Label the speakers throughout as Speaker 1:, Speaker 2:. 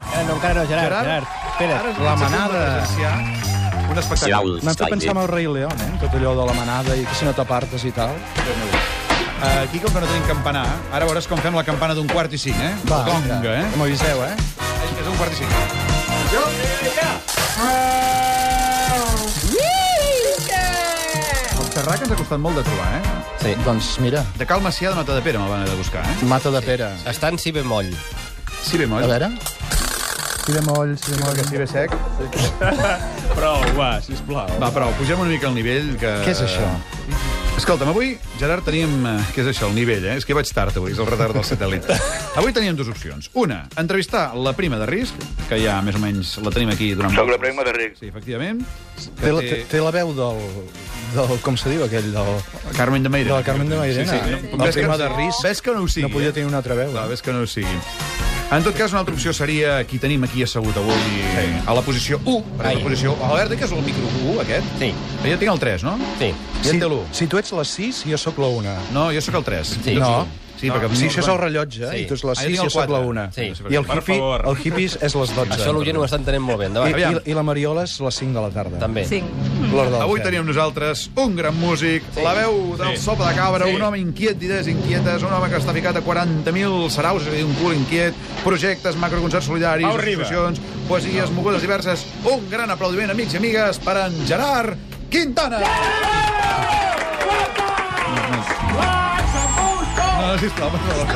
Speaker 1: Ara Eh, no, encara no, Gerard.
Speaker 2: Gerard?
Speaker 1: Gerard, Pérez.
Speaker 2: Ara és
Speaker 3: La
Speaker 2: la manada.
Speaker 3: manada.
Speaker 2: Un espectacle.
Speaker 3: M'ha fet pensar en el rei León, eh? Tot allò de la manada i que si no t'apartes i tal.
Speaker 2: Eh, Aquí, com que no tenim campanar, ara veuràs com fem la campana d'un quart i cinc, eh?
Speaker 3: Va,
Speaker 2: Conga, eh?
Speaker 3: M'aviseu, eh?
Speaker 2: És un quart i cinc. eh, El terrac ens ha costat molt de trobar, eh?
Speaker 1: Sí.
Speaker 3: Doncs mira,
Speaker 2: De Cal Macià de Nota de Pere me'l van anar a buscar, eh?
Speaker 3: mata de pera.
Speaker 1: Està en si bemoll.
Speaker 2: Sí, bé, moll.
Speaker 3: A veure...
Speaker 4: Si bemoll, si bemoll.
Speaker 2: Sí, bé, sec.
Speaker 5: Prou, va, sisplau.
Speaker 2: Va, però pugem una mica el nivell que...
Speaker 3: Què és això?
Speaker 2: Escolta'm, avui, Gerard, teníem... eh, Què és això, el nivell, eh? És que vaig tard avui, és el retard del satèl·lit. avui teníem dues opcions. Una, entrevistar la prima de risc, que ja més o menys la tenim aquí durant...
Speaker 6: Soc la
Speaker 2: molts-
Speaker 6: prima de risc.
Speaker 2: Sí, efectivament.
Speaker 3: Té, la-
Speaker 2: Que
Speaker 3: té, té la veu del, del... Com se diu aquell? Del,
Speaker 2: Carmen de Mairena.
Speaker 3: de la Carmen de Mairena.
Speaker 2: Sí, sí.
Speaker 3: La
Speaker 2: Ves que
Speaker 3: prima
Speaker 2: no-
Speaker 3: de risc.
Speaker 2: Ves que no ho sigui.
Speaker 3: no podia
Speaker 2: eh?
Speaker 3: tenir una altra veu.
Speaker 2: Clar,
Speaker 3: Eh?
Speaker 2: ves que no ho sigui. En tot cas, una altra opció seria qui tenim aquí assegut avui a la posició 1. Perquè
Speaker 1: Ai.
Speaker 2: la posició... Albert, que és el micro 1, aquest?
Speaker 1: Sí.
Speaker 2: Jo tinc el 3, no?
Speaker 1: Sí.
Speaker 2: Ja
Speaker 3: Si,
Speaker 2: té l'1.
Speaker 3: si tu ets les 6, jo sóc la 1.
Speaker 2: No, jo sóc el 3.
Speaker 1: Sí.
Speaker 3: No.
Speaker 2: Sí, perquè...
Speaker 3: Si això és el rellotge,
Speaker 1: Sí.
Speaker 3: sí. i tu ets les
Speaker 2: Ah,
Speaker 3: 6,
Speaker 2: jo tinc
Speaker 3: jo
Speaker 2: el
Speaker 3: sóc la
Speaker 2: quatre.
Speaker 3: 1.
Speaker 1: Sí.
Speaker 3: I el
Speaker 5: Per
Speaker 3: hippie,
Speaker 5: favor.
Speaker 3: el hippie és les 12.
Speaker 1: Això l'Oient ho està entenent molt bé. Endavant.
Speaker 3: I,
Speaker 2: Aviam.
Speaker 3: i, I la Mariola és les 5 de la tarda.
Speaker 1: També.
Speaker 7: Cinc.
Speaker 3: L'hora del
Speaker 2: Avui
Speaker 3: cel.
Speaker 2: teníem nosaltres un gran músic, sí. la veu del sí. sopa de cabra, sí. un home inquiet d'idees inquietes, un home que està ficat a 40.000 saraus, és a dir, un cul inquiet, projectes, macroconcerts solidaris,
Speaker 5: Pau Riba.
Speaker 2: associacions, poesies, no. mogudes diverses. Un gran aplaudiment, amics i amigues, per en Gerard Quintana! No, no, sisplau, per favor.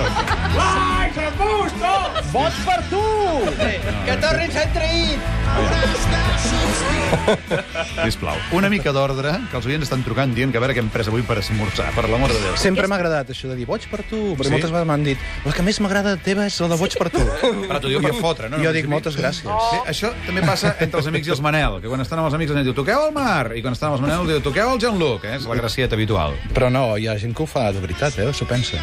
Speaker 1: Que tornis a trair!
Speaker 2: Sisplau. Una mica d'ordre, que els oients estan trucant dient que a veure què hem pres avui per esmorzar, per l'amor de Déu.
Speaker 3: Sempre m'ha agradat això de dir boig per tu, perquè
Speaker 2: Sí?
Speaker 3: sí? moltes vegades m'han dit la que més m'agrada teva és la de boig per tu.
Speaker 2: Però t'ho diu per fotre, no?
Speaker 3: jo
Speaker 2: No,
Speaker 3: dic
Speaker 2: sí.
Speaker 3: moltes gràcies.
Speaker 2: Sí, això també passa entre els amics i els Manel, que quan estan amb els amics ens diu toqueu el Mar, i quan estan amb els Manel diu toqueu el Jean-Luc, eh? és la gracieta habitual.
Speaker 3: Però no, hi ha gent que ho fa de veritat, eh? S'ho pensa.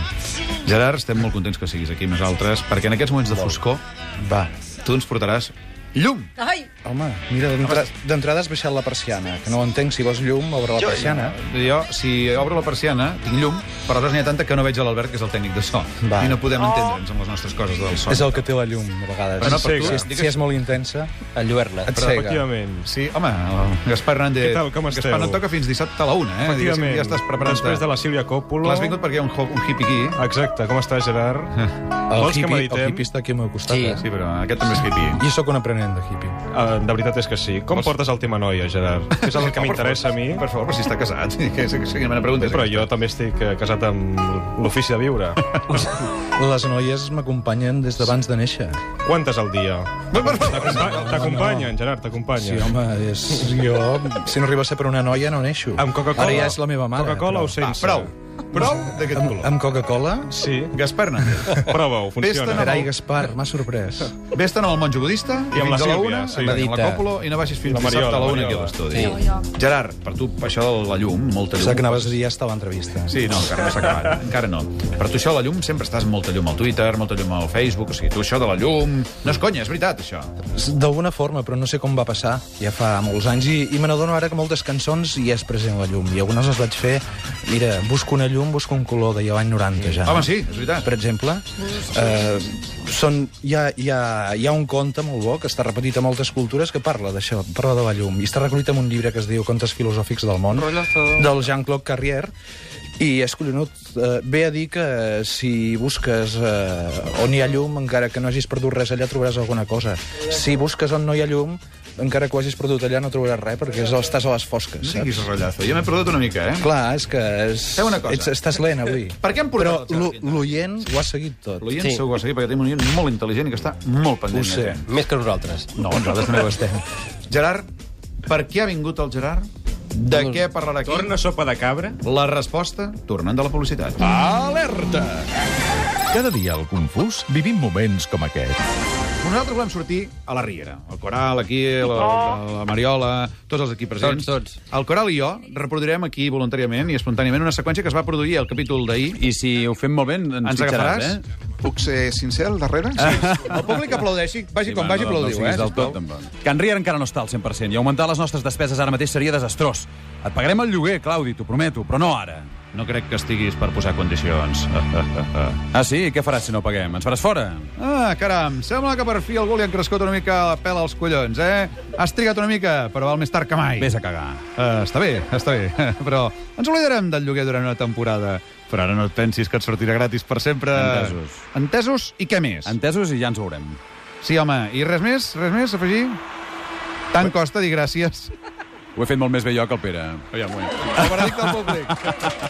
Speaker 2: Gerard, estem molt contents que siguis aquí amb nosaltres, perquè en aquests moments de foscor
Speaker 3: Va.
Speaker 2: tu ens portaràs llum.
Speaker 7: Ai,
Speaker 3: Home, mira, d'entra- d'entrada has baixat la persiana, que no ho entenc, si vols llum, obre la persiana.
Speaker 2: Jo, si obro la persiana, tinc llum, però aleshores n'hi ha tanta que no veig a l'Albert, que és el tècnic de so,
Speaker 3: Va.
Speaker 2: i no podem entendre'ns amb les nostres coses del so.
Speaker 3: És el que té la llum, a vegades.
Speaker 2: Però no, per
Speaker 5: tu,
Speaker 3: si, és,
Speaker 2: digues-
Speaker 3: si és molt intensa,
Speaker 1: En Lluerna.
Speaker 3: et cega.
Speaker 5: Efectivament.
Speaker 2: Sí, home, el Gaspar Hernández...
Speaker 5: Què tal, com
Speaker 2: Gaspar,
Speaker 5: esteu?
Speaker 2: no et toca fins dissabte a la una, eh? Diguéssim,
Speaker 5: Efectivament.
Speaker 2: ja estàs preparant-te.
Speaker 5: Després de la Sílvia Coppola...
Speaker 2: L'has vingut perquè hi ha un, ho- un hippie aquí.
Speaker 5: Exacte, com estàs, Gerard?
Speaker 3: El
Speaker 5: Vols que
Speaker 3: hippie, el
Speaker 5: meditem?
Speaker 3: hippie està aquí al meu costat.
Speaker 1: Sí.
Speaker 3: eh?
Speaker 2: Sí, però aquest també és hippie.
Speaker 3: Jo sóc un aprenent de hippie.
Speaker 5: Eh, de veritat és que sí. Com portes el tema noia, Gerard? Que és el que m'interessa a mi.
Speaker 2: Per favor, però si està casat. Que, que, que, que pregunta.
Speaker 5: Però jo també estic eh, casat amb l'ofici de viure.
Speaker 3: Les noies m'acompanyen des d'abans de néixer.
Speaker 5: Quantes al dia?
Speaker 2: Per, per favor.
Speaker 5: T'acompa- T'acompanyen, Gerard, t'acompanyen.
Speaker 3: Sí, home, és... jo... Si no arriba a ser per una noia, no neixo.
Speaker 5: Amb Coca-Cola?
Speaker 3: Ara ja és la meva mare.
Speaker 5: Coca-Cola
Speaker 3: però-
Speaker 5: o
Speaker 2: Va,
Speaker 5: sense?
Speaker 2: prou. Prou d'aquest
Speaker 3: Amb,
Speaker 2: color.
Speaker 3: amb Coca-Cola?
Speaker 5: Sí.
Speaker 2: Gaspar Hernández.
Speaker 5: Prova-ho,
Speaker 2: Vés-te'n
Speaker 5: funciona.
Speaker 2: a-
Speaker 3: Carai, Gaspar, m'ha sorprès.
Speaker 2: Vés-te'n amb el monjo budista
Speaker 5: I amb la
Speaker 2: fins a la
Speaker 5: Sílvia,
Speaker 2: una,
Speaker 5: sí.
Speaker 2: amb la
Speaker 1: Medita.
Speaker 2: Còpolo, i no baixis fins
Speaker 5: La Mariola,
Speaker 2: dissabte a la una
Speaker 5: la
Speaker 2: aquí a
Speaker 5: Mariola.
Speaker 2: l'estudi.
Speaker 1: Sí.
Speaker 2: Gerard, per tu això de la llum, molta
Speaker 3: Pensava
Speaker 2: llum...
Speaker 3: que anaves a dir ja estava a entrevista.
Speaker 2: Sí, no, encara no s'ha acabat, encara no. Per tu això de la llum, sempre estàs amb molta llum al Twitter, molta llum al Facebook, o sigui, tu això de la llum... No és conya, és veritat, això.
Speaker 3: D'alguna forma, però no sé com va passar. Ja fa molts anys i, i me n'adono ara que moltes cançons hi és present la llum. I algunes les vaig fer... Mira, busco una llum, busco un color, deia l'any 90 ja.
Speaker 2: Home, sí, és
Speaker 3: Ah,
Speaker 2: veritat.
Speaker 3: Per exemple, eh, són, hi, ha, hi, ha, hi ha un conte molt bo que està repetit a moltes cultures que parla d'això, parla de la llum. I està recollit en un llibre que es diu Contes filosòfics del món, del Jean-Claude Carrier, i és collonut, eh, ve a dir que eh, si busques eh, on hi ha llum, encara que no hagis perdut res allà, trobaràs alguna cosa. Si busques on no hi ha llum, encara que ho hagis perdut allà, no trobaràs res, perquè és- estàs a les fosques,
Speaker 2: No
Speaker 3: saps?
Speaker 2: siguis rotllazo. Jo m'he perdut una mica, eh?
Speaker 3: Clar, és que... És,
Speaker 2: Fem una cosa.
Speaker 3: Ets, estàs lent avui.
Speaker 2: Per què hem portat el
Speaker 3: Però
Speaker 2: Xavi
Speaker 3: l'o- l'oient ho ha seguit tot.
Speaker 2: L'oient
Speaker 1: Sí.
Speaker 2: sí. segur que ho seguir, perquè tenim un oient molt intel·ligent i que està molt pendent.
Speaker 3: Ho sé.
Speaker 2: de tu.
Speaker 1: Més que nosaltres.
Speaker 2: No, nosaltres també ho estem. Gerard, per què ha vingut el Gerard? De què parlarà aquí?
Speaker 5: Torna sopa de cabra?
Speaker 2: La resposta, tornant de la publicitat. Ah.
Speaker 8: Alerta! Cada dia al Confús vivim moments com aquest.
Speaker 2: Nosaltres volem sortir a la Riera. El Coral, aquí, la, la, la Mariola, tots els aquí presents.
Speaker 1: Tots, tots.
Speaker 2: El Coral i jo reproduirem aquí voluntàriament i espontàniament una seqüència que es va produir al capítol d'ahir.
Speaker 9: I si ho fem molt bé, ens,
Speaker 2: Ens
Speaker 9: fitxaràs,
Speaker 2: agafaràs?
Speaker 9: eh?
Speaker 4: Puc ser sincer al darrere?
Speaker 2: El públic aplaudeixi, vagi com
Speaker 9: va,
Speaker 2: vagi, aplaudiu,
Speaker 9: siguis
Speaker 2: eh?
Speaker 9: Del tot, tampoc. que en Rier encara no està al 100% i augmentar les nostres despeses ara mateix seria desastrós. Et pagarem el lloguer, Claudi, t'ho prometo, però no ara.
Speaker 2: No crec que estiguis per posar condicions.
Speaker 9: Ah, sí? I què faràs si no paguem? Ens faràs fora?
Speaker 2: Ah, caram, sembla que per fi algú li han crescut una mica la pela als collons, eh? Has trigat una mica, però val més tard que mai.
Speaker 9: Vés a cagar.
Speaker 2: Uh, està bé, està bé, però ens oblidarem del lloguer durant una temporada. Però ara no et pensis que et sortirà gratis per sempre.
Speaker 9: Entesos.
Speaker 2: Entesos i què més?
Speaker 9: Entesos i ja ens veurem.
Speaker 2: Sí, home, i res més? Res més, a afegir? Tant costa dir gràcies.
Speaker 9: Ho he fet molt més bé jo que el Pere.
Speaker 2: Aviam, bueno. El veredicte del públic.